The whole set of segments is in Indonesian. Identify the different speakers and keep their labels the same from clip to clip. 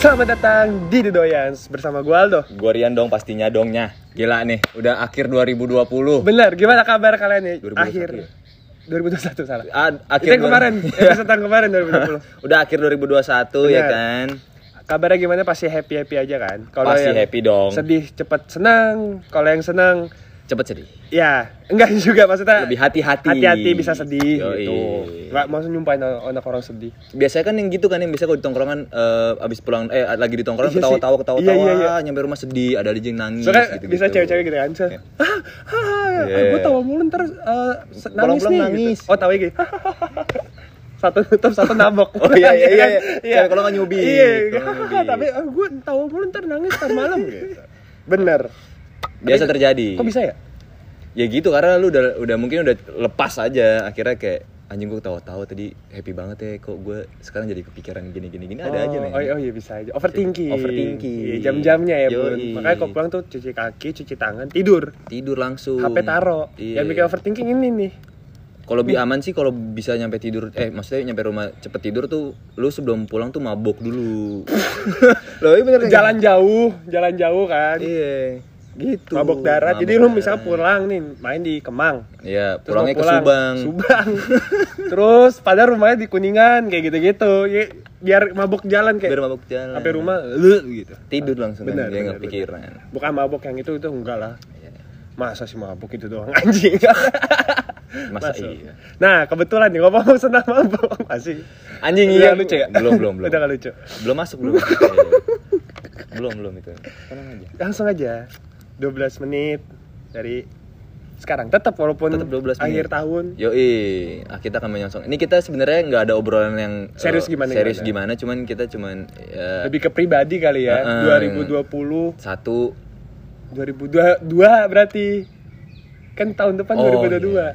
Speaker 1: Selamat datang di The Doyans bersama gue Aldo.
Speaker 2: Gue Rian dong pastinya dongnya. Gila nih, udah akhir 2020.
Speaker 1: Bener, gimana kabar kalian nih?
Speaker 2: 2021
Speaker 1: Akhir
Speaker 2: ya?
Speaker 1: 2021 salah.
Speaker 2: A-
Speaker 1: Itu yang
Speaker 2: Ah, dua- Ya.
Speaker 1: kemarin, episode yang kemarin 2020.
Speaker 2: udah akhir 2021 ya
Speaker 1: Benar.
Speaker 2: kan.
Speaker 1: Kabarnya gimana? Pasti happy happy aja kan?
Speaker 2: Pasti happy dong.
Speaker 1: Sedih cepet senang. Kalau yang senang,
Speaker 2: Cepet sedih.
Speaker 1: ya enggak juga maksudnya.
Speaker 2: Lebih hati-hati.
Speaker 1: Hati-hati bisa sedih
Speaker 2: Yoi.
Speaker 1: gitu. Gak mau nyumpahin anak orang sedih.
Speaker 2: Biasanya kan yang gitu kan yang biasa kalau di tongkrongan eh, abis pulang eh lagi di
Speaker 1: Iya
Speaker 2: tongkrongan
Speaker 1: sih.
Speaker 2: ketawa-tawa ketawa-tawa
Speaker 1: Iya, iya, iya.
Speaker 2: nyampe rumah sedih, ada aja yang nangis Iya.
Speaker 1: Soalnya
Speaker 2: gitu.
Speaker 1: bisa cewek-cewek gitu kan. Misalnya, "Ah, ah,
Speaker 2: Iya.
Speaker 1: gue tawa mulu ntar eh, se- nangis
Speaker 2: Pulang-pulang
Speaker 1: nih.
Speaker 2: nangis.
Speaker 1: Gitu. Oh tawa gitu. satu nutup satu nabok.
Speaker 2: Oh, iya, iya, iya, iya.
Speaker 1: Kan?
Speaker 2: Kalau- kalau nggak nyubi.
Speaker 1: Iya.
Speaker 2: Kalau nggak
Speaker 1: "Hahaha,
Speaker 2: nyubi. Iya,
Speaker 1: Tapi "Ah, gue tawa mulu ntar nangis ntar malam gitu. Bener.
Speaker 2: Biasa terjadi.
Speaker 1: Kok bisa ya?
Speaker 2: Ya gitu karena lu udah udah mungkin udah lepas aja akhirnya kayak anjing gue ketawa-tawa tadi happy banget ya kok gue sekarang jadi kepikiran gini-gini gini ada aja
Speaker 1: oh,
Speaker 2: men.
Speaker 1: Oh, iya, oh iya bisa aja. Overthinking.
Speaker 2: Overthinking.
Speaker 1: Iya, jam-jamnya ya, Bun.
Speaker 2: Yoi.
Speaker 1: Makanya kok pulang tuh cuci kaki, cuci tangan, tidur.
Speaker 2: tidur langsung
Speaker 1: HP taro.
Speaker 2: iya.
Speaker 1: Yang bikin overthinking ini nih.
Speaker 2: kalau lebih aman sih kalau bisa nyampe tidur eh maksudnya nyampe rumah cepet tidur tuh lu sebelum pulang tuh mabok dulu loh iya bener
Speaker 1: Jalan jauh, jalan jauh kan.
Speaker 2: iya gitu
Speaker 1: mabok darat.
Speaker 2: Mabok
Speaker 1: Jadi lu
Speaker 2: darat.
Speaker 1: misalnya pulang nih, main di Kemang.
Speaker 2: iya
Speaker 1: Terus
Speaker 2: pulangnya
Speaker 1: mau
Speaker 2: ke Subang
Speaker 1: Subang. terus padahal rumahnya di Kuningan kayak gitu-gitu. Ya, biar mabok jalan kayak
Speaker 2: biar mabok jalan
Speaker 1: sampai rumah lu gitu.
Speaker 2: tidur langsung
Speaker 1: Benar,
Speaker 2: kan, dia
Speaker 1: benar,
Speaker 2: nggak pikiran
Speaker 1: Bukan mabok yang itu itu enggak lah.
Speaker 2: Iya.
Speaker 1: Masa sih mabok itu doang anjing.
Speaker 2: masa
Speaker 1: Masuk.
Speaker 2: iya
Speaker 1: Nah, kebetulan nih ngomong senang mabok masih.
Speaker 2: anjing
Speaker 1: Udah
Speaker 2: iya
Speaker 1: nggak lucu ya?
Speaker 2: belum belum belum
Speaker 1: Udah gak lucu.
Speaker 2: belum masuk belum masuk. Iya, iya. belum belum itu tenang aja
Speaker 1: Langsung aja. 12 menit dari sekarang tetap walaupun
Speaker 2: Tetap 12 menit.
Speaker 1: akhir tahun.
Speaker 2: Yoi, ah, kita akan menyongsong. Ini kita sebenarnya nggak ada obrolan yang eh,
Speaker 1: Serius gimana-
Speaker 2: serius
Speaker 1: gimana.
Speaker 2: gimana, cuman kita cuman eh,
Speaker 1: Lebih ke pribadi kali ya.
Speaker 2: Heeh.
Speaker 1: 2020
Speaker 2: satu
Speaker 1: 2022 berarti kan tahun depan
Speaker 2: Oh,
Speaker 1: 2022
Speaker 2: iya.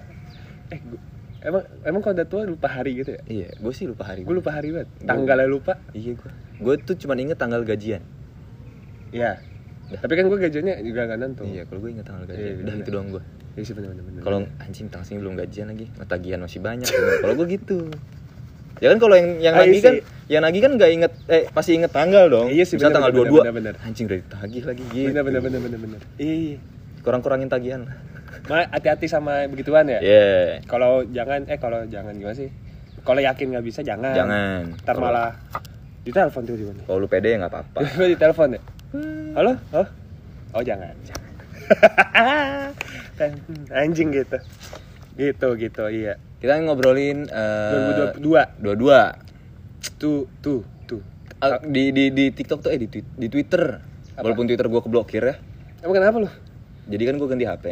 Speaker 1: eh gua- emang emang kalau udah tua lupa hari gitu ya
Speaker 2: Iya, gue sih lupa hari.
Speaker 1: gue lupa hari banget
Speaker 2: Gua-
Speaker 1: tanggalnya lupa
Speaker 2: Iya gue. Gue tuh cuman inget tanggal gajian.
Speaker 1: ya tapi kan gue gajinya juga nggak nentu
Speaker 2: Iya, kalau gue inget tanggal
Speaker 1: Iya,
Speaker 2: gajian.
Speaker 1: iya,
Speaker 2: Udah
Speaker 1: iya.
Speaker 2: itu doang gue.
Speaker 1: Iya sih bener bener bener.
Speaker 2: Kalau anjing tanggal sini belum gajian lagi, oh, tagihan masih banyak. kalau gue gitu. Ya kan kalau yang yang
Speaker 1: Ah, iya
Speaker 2: lagi kan
Speaker 1: sih.
Speaker 2: yang lagi kan nggak inget eh pasti inget tanggal dong.
Speaker 1: Iya sih,
Speaker 2: Misalnya
Speaker 1: bener,
Speaker 2: tanggal
Speaker 1: bener,
Speaker 2: 22.
Speaker 1: bener, bener.
Speaker 2: Anjing udah ditagih lagi gitu.
Speaker 1: bener bener bener bener bener iya
Speaker 2: Kurang-kurangin tagihan.
Speaker 1: Ma, hati-hati sama begituan ya
Speaker 2: Iya.
Speaker 1: kalau jangan eh kalau jangan gimana sih kalau yakin nggak bisa jangan
Speaker 2: Jangan.
Speaker 1: ntar
Speaker 2: Kalau-
Speaker 1: malah ditelepon tuh gimana
Speaker 2: Kalau lu pede ya nggak apa-apa.
Speaker 1: Tiba-tiba ditelepon ya? Halo? Halo? Oh jangan, jangan. Anjing gitu. Gitu gitu iya.
Speaker 2: Kita kan ngobrolin eh
Speaker 1: 2022
Speaker 2: dua-dua.
Speaker 1: tuh tuh tuh.
Speaker 2: Ah, di di di TikTok tuh eh di, twi- di Twitter. Walaupun Twitter gua keblokir ya.
Speaker 1: Emang kenapa lu?
Speaker 2: Jadi kan gue ganti HP.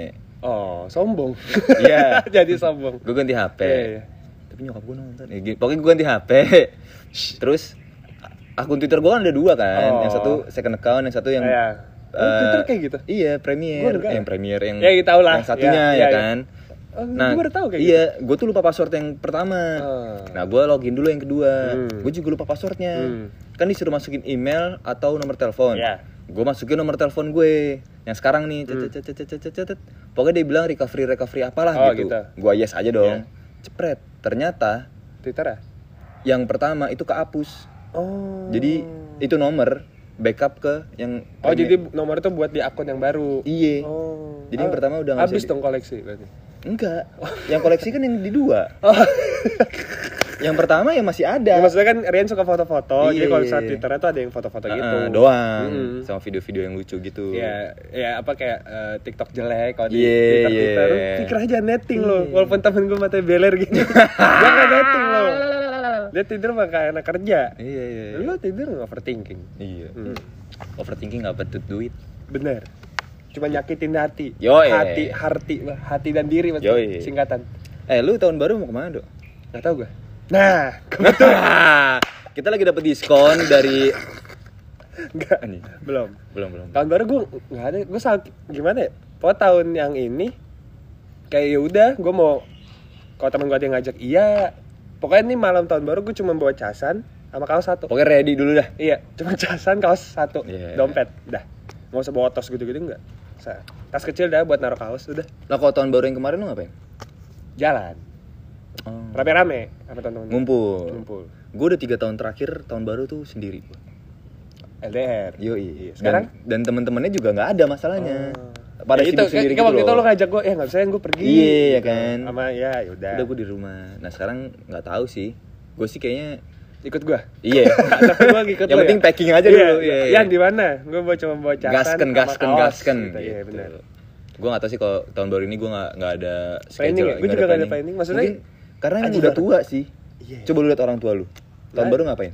Speaker 1: Oh, sombong.
Speaker 2: Iya.
Speaker 1: Jadi sombong.
Speaker 2: Gue ganti HP.
Speaker 1: Iya, iya.
Speaker 2: Tapi nyokap gue nonton. Ya, gitu. pokoknya gue ganti HP. Terus akun Twitter gue kan ada dua kan.
Speaker 1: Oh.
Speaker 2: Yang satu second account, yang satu yang
Speaker 1: Iya. Oh,
Speaker 2: eh,
Speaker 1: Twitter kayak gitu?
Speaker 2: Iya,
Speaker 1: Gua
Speaker 2: Premier.
Speaker 1: enggak.
Speaker 2: Eh, yang Premier yang
Speaker 1: Ya, kita tahu lah.
Speaker 2: yang satunya
Speaker 1: Iya,
Speaker 2: ya,
Speaker 1: iya,
Speaker 2: kan.
Speaker 1: Oh, gua baru tahu kayak gitu.
Speaker 2: iya, gue tuh lupa password yang pertama.
Speaker 1: Oh.
Speaker 2: Nah, gue login dulu yang kedua.
Speaker 1: Hmm.
Speaker 2: Gue juga lupa passwordnya.
Speaker 1: Hmm.
Speaker 2: Kan disuruh masukin email atau nomor telepon.
Speaker 1: Iya.
Speaker 2: Gue masukin nomor telepon gue yang sekarang nih. cet,
Speaker 1: Hmm.
Speaker 2: cet, cet, cet, cet, cet, cet, cet. Pokoknya dia bilang recovery recovery apalah
Speaker 1: Oh,
Speaker 2: gitu.
Speaker 1: gitu.
Speaker 2: Gue yes aja dong. Cepret. Ternyata
Speaker 1: Twitter ya?
Speaker 2: yang pertama itu kehapus.
Speaker 1: Oh.
Speaker 2: Jadi itu nomor backup ke yang
Speaker 1: Oh, jadi nomor itu buat di akun yang baru.
Speaker 2: Iya.
Speaker 1: Oh.
Speaker 2: Jadi yang pertama udah nggak bisa
Speaker 1: habis
Speaker 2: di-
Speaker 1: dong koleksi berarti.
Speaker 2: Enggak. Yang koleksi kan yang di dua.
Speaker 1: Oh.
Speaker 2: yang pertama ya masih
Speaker 1: Ya,
Speaker 2: ada.
Speaker 1: maksudnya kan Rian suka foto-foto, jadi
Speaker 2: Iya.
Speaker 1: kalau saat Twitternya tuh ada yang foto-foto gitu.
Speaker 2: Heeh, Ah, doang
Speaker 1: Mm-mm.
Speaker 2: sama video-video yang lucu gitu.
Speaker 1: Ya, ya apa kayak eh, TikTok jelek kalau di
Speaker 2: Iya,
Speaker 1: Twitter Twitter
Speaker 2: iya.
Speaker 1: lu pikir aja netting lo, walaupun temen gue matanya beler gitu. Jangan netting lo. Dia tidur makanya anak kerja.
Speaker 2: Iya iya. iya.
Speaker 1: Lu tidur nggak overthinking.
Speaker 2: Iya.
Speaker 1: Hmm.
Speaker 2: Overthinking nggak betut duit.
Speaker 1: Bener. Cuma nyakitin hati.
Speaker 2: Yoi.
Speaker 1: Hati, hati, hati dan diri maksudnya
Speaker 2: Yoi.
Speaker 1: singkatan.
Speaker 2: Eh lu tahun baru mau kemana dok?
Speaker 1: Gak tau gue. Nah,
Speaker 2: Kita lagi dapat diskon dari
Speaker 1: enggak.
Speaker 2: Anjing.
Speaker 1: Belum.
Speaker 2: belum belum.
Speaker 1: tahun baru gue nggak ada gue sakit gimana ya pokoknya tahun yang ini kayak ya udah gue mau kalau teman gue ada yang ngajak iya pokoknya ini malam tahun baru gue cuma bawa casan sama kaos satu
Speaker 2: Pokoknya ready dulu dah.
Speaker 1: iya cuma casan kaos satu
Speaker 2: Iya.
Speaker 1: dompet udah nggak usah bawa tos gitu-gitu enggak Sa- tas kecil dah buat naruh kaos udah
Speaker 2: Lah kalau tahun baru yang kemarin lu ngapain?
Speaker 1: jalan
Speaker 2: Oh.
Speaker 1: rame-rame sama teman-teman
Speaker 2: Ngumpul.
Speaker 1: ngumpul
Speaker 2: Gue udah tiga tahun terakhir tahun baru tuh sendiri. gua.
Speaker 1: LDR
Speaker 2: Yoi.
Speaker 1: Iya, sekarang
Speaker 2: dan, dan teman-temannya juga nggak ada masalahnya. Pada
Speaker 1: Ya,
Speaker 2: sibuk sendiri
Speaker 1: kan
Speaker 2: Oh. gitu
Speaker 1: waktu itu
Speaker 2: loh.
Speaker 1: lo ngajak gue ya nggak bisa gue pergi
Speaker 2: Iya, ya kan.
Speaker 1: sama ya yaudah
Speaker 2: Udah gue di rumah. Nah sekarang nggak tahu sih. Gue sih kayaknya
Speaker 1: ikut gue
Speaker 2: iya.
Speaker 1: tapi gue ngikut
Speaker 2: Yang
Speaker 1: lo
Speaker 2: penting
Speaker 1: ya.
Speaker 2: packing aja
Speaker 1: Iya,
Speaker 2: dulu. Iya, iya.
Speaker 1: yang di mana gue mau cuma bawa casan
Speaker 2: gasken
Speaker 1: sama
Speaker 2: gasken
Speaker 1: kaos,
Speaker 2: gasken.
Speaker 1: gitu. iya benar
Speaker 2: Gue nggak tahu sih kalau tahun baru ini gue nggak nggak ada
Speaker 1: Planning ya?
Speaker 2: schedule.
Speaker 1: Gua juga nggak ada planning. Maksudnya,
Speaker 2: Mungkin karena ini
Speaker 1: anjing
Speaker 2: udah
Speaker 1: banget.
Speaker 2: tua sih.
Speaker 1: Iya.
Speaker 2: Coba lu lihat orang tua lu. Tahun
Speaker 1: Nah.
Speaker 2: baru ngapain?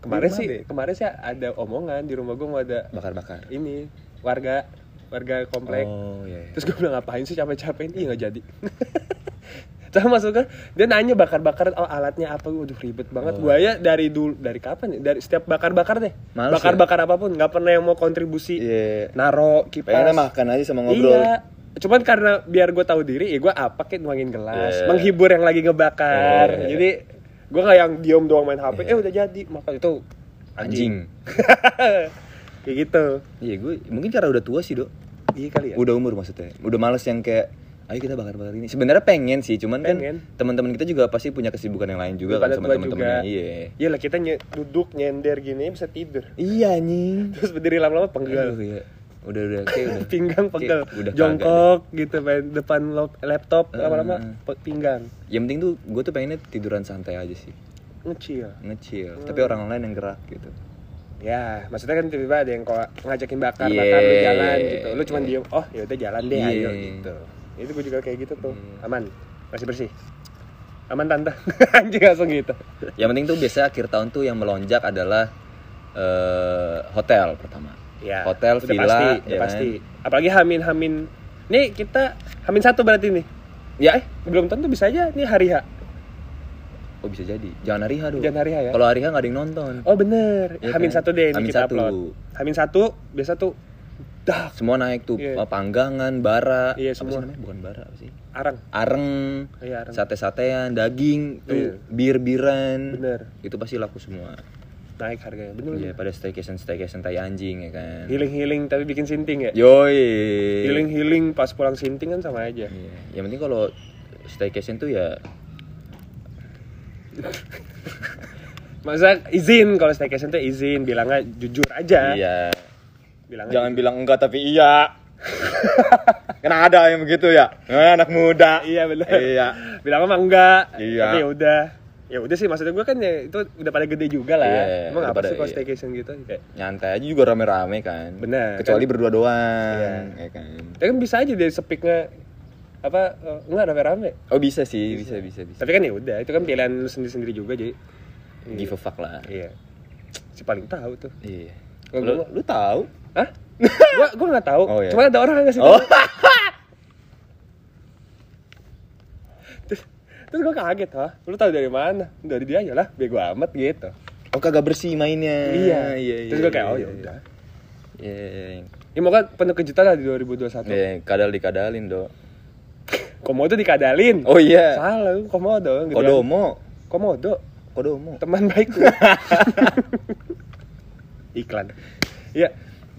Speaker 1: kemarin
Speaker 2: Di
Speaker 1: sih
Speaker 2: rumah, Be.
Speaker 1: kemarin sih ada omongan di rumah gue mau ada
Speaker 2: Bakar-bakar.
Speaker 1: ini warga warga komplek
Speaker 2: Oh iya. iya.
Speaker 1: terus gue bilang ngapain sih capek-capekin iya nggak jadi sama maksudnya dia nanya bakar-bakar oh, alatnya apa waduh ribet banget
Speaker 2: Oh.
Speaker 1: gue ya dari dulu dari kapan ya dari setiap bakar-bakar deh
Speaker 2: Males ya?
Speaker 1: bakar-bakar apapun nggak pernah yang mau kontribusi
Speaker 2: Iya.
Speaker 1: naro kipas
Speaker 2: Pengennya makan aja sama ngobrol.
Speaker 1: Iya. Cuman karena biar gue tahu diri, ya gue apa kayak nuangin gelas,
Speaker 2: Iya.
Speaker 1: menghibur yang lagi ngebakar.
Speaker 2: Iya.
Speaker 1: Jadi gue nggak yang diem doang main HP.
Speaker 2: Iya.
Speaker 1: Eh udah jadi, makan itu
Speaker 2: Anjing.
Speaker 1: kayak gitu.
Speaker 2: Iya gue mungkin karena udah tua sih dok.
Speaker 1: Iya kali ya.
Speaker 2: Udah umur maksudnya. Udah males yang kayak ayo kita bakar-bakar ini. Sebenarnya pengen sih, cuman
Speaker 1: Pengen.
Speaker 2: kan teman-teman kita juga pasti punya kesibukan yang lain juga
Speaker 1: Pada
Speaker 2: kan sama
Speaker 1: tua
Speaker 2: teman-temannya.
Speaker 1: juga.
Speaker 2: Iya.
Speaker 1: Iya lah kita nye- duduk nyender gini bisa tidur.
Speaker 2: Iya anjing.
Speaker 1: Terus berdiri lama-lama penggal.
Speaker 2: Aduh, iya. Udah udah kayak udah.
Speaker 1: pinggang pegel,
Speaker 2: Iya. Kayak udah
Speaker 1: jongkok gitu main depan lo- laptop
Speaker 2: Heeh.
Speaker 1: lama-lama pe- pinggang
Speaker 2: Yang penting tuh gue tuh pengennya tiduran santai aja sih.
Speaker 1: ngecil.
Speaker 2: Ngecil.
Speaker 1: Hmm.
Speaker 2: Tapi orang lain yang gerak gitu.
Speaker 1: Ya, maksudnya kan tiba-tiba ada yang kok ngajakin bakar,
Speaker 2: Iya.
Speaker 1: bakar lu jalan gitu. Lu cuman diem, oh ya udah jalan deh,
Speaker 2: Iya.
Speaker 1: ayo gitu. Itu gue juga kayak gitu tuh.
Speaker 2: Hmm.
Speaker 1: Aman, masih bersih. Aman tante, anjing langsung gitu.
Speaker 2: Yang penting tuh biasanya akhir tahun tuh yang melonjak adalah eh, hotel pertama.
Speaker 1: Ya,
Speaker 2: Hotel,
Speaker 1: udah
Speaker 2: villa,
Speaker 1: pasti,
Speaker 2: ya
Speaker 1: udah
Speaker 2: kan?
Speaker 1: pasti. Apalagi hamin hamin. Nih kita hamin satu berarti nih.
Speaker 2: Ya, eh,
Speaker 1: Belum tentu bisa aja nih hari H.
Speaker 2: oh bisa jadi. Jangan hari H dong.
Speaker 1: Jangan hari H ya.
Speaker 2: Kalau hari H nggak ada yang nonton.
Speaker 1: Oh bener,
Speaker 2: Iya
Speaker 1: hamin
Speaker 2: kan?
Speaker 1: satu deh ini
Speaker 2: Hamin
Speaker 1: kita
Speaker 2: satu.
Speaker 1: upload. Hamin satu, biasa tuh dah
Speaker 2: Semua naik tuh
Speaker 1: Iya.
Speaker 2: eh, panggangan, bara,
Speaker 1: Iya,
Speaker 2: apa sih
Speaker 1: semua.
Speaker 2: namanya? Bukan bara apa sih?
Speaker 1: arang.
Speaker 2: Areng,
Speaker 1: Iya arang.
Speaker 2: sate-satean, daging,
Speaker 1: Iya.
Speaker 2: tuh bir-biran.
Speaker 1: Bener,
Speaker 2: Itu pasti laku semua.
Speaker 1: naik harganya. Bener.
Speaker 2: Iya, pada staycation staycation tai anjing ya kan.
Speaker 1: Healing healing tapi bikin sinting ya.
Speaker 2: Yoi.
Speaker 1: healing healing pas pulang sinting kan sama aja
Speaker 2: Iya. Yang penting kalau staycation tuh ya
Speaker 1: masa izin kalau staycation tuh izin bilangnya jujur aja
Speaker 2: iya.
Speaker 1: bilangnya
Speaker 2: Jangan bilang enggak tapi iya. Karena ada yang begitu ya. Eh, anak muda.
Speaker 1: iya benar
Speaker 2: Iya.
Speaker 1: bilangnya mah enggak
Speaker 2: Iya.
Speaker 1: tapi ya udah ya udah sih maksudnya gue kan ya itu udah pada gede juga lah
Speaker 2: Iya,
Speaker 1: emang
Speaker 2: udah
Speaker 1: apa
Speaker 2: pada-
Speaker 1: sih kalau
Speaker 2: iya.
Speaker 1: staycation gitu kayak
Speaker 2: Nyantai aja juga rame-rame kan.
Speaker 1: Benar,
Speaker 2: Kecuali berdua doang, ya kan.
Speaker 1: ya kan bisa aja dari sepiknya apa eh, enggak rame-rame
Speaker 2: Oh bisa sih, bisa bisa bisa.
Speaker 1: tapi kan ya udah itu kan pilihan lu sendiri-sendiri juga jadi
Speaker 2: Give a fuck lah.
Speaker 1: iya si paling tahu tuh
Speaker 2: Iya.
Speaker 1: Kalau
Speaker 2: Lu,
Speaker 1: gua-
Speaker 2: lu tahu?
Speaker 1: Hah? gua gua nggak tahu.
Speaker 2: Oh, iya.
Speaker 1: Cuma ada orang yang ngasih
Speaker 2: Oh.
Speaker 1: tahu. terus, terus gua kaget, "Hah? Lu tahu dari mana?" Dari dia aja lah, bego amat gitu.
Speaker 2: Oh kagak bersih mainnya. iya, iya.
Speaker 1: Terus gua kayak, "Oh ya
Speaker 2: iya,
Speaker 1: udah."
Speaker 2: Iya, iya, iya.
Speaker 1: Ya moga penuh kejutan lah di 2021.
Speaker 2: Iya, kadal dikadalin, Dok.
Speaker 1: Komodo dikadalin.
Speaker 2: Oh iya.
Speaker 1: Salah, lu komodo. gitu.
Speaker 2: Kodomo.
Speaker 1: Komodo.
Speaker 2: Kodomo.
Speaker 1: Teman baik lu. Iklan. Iya,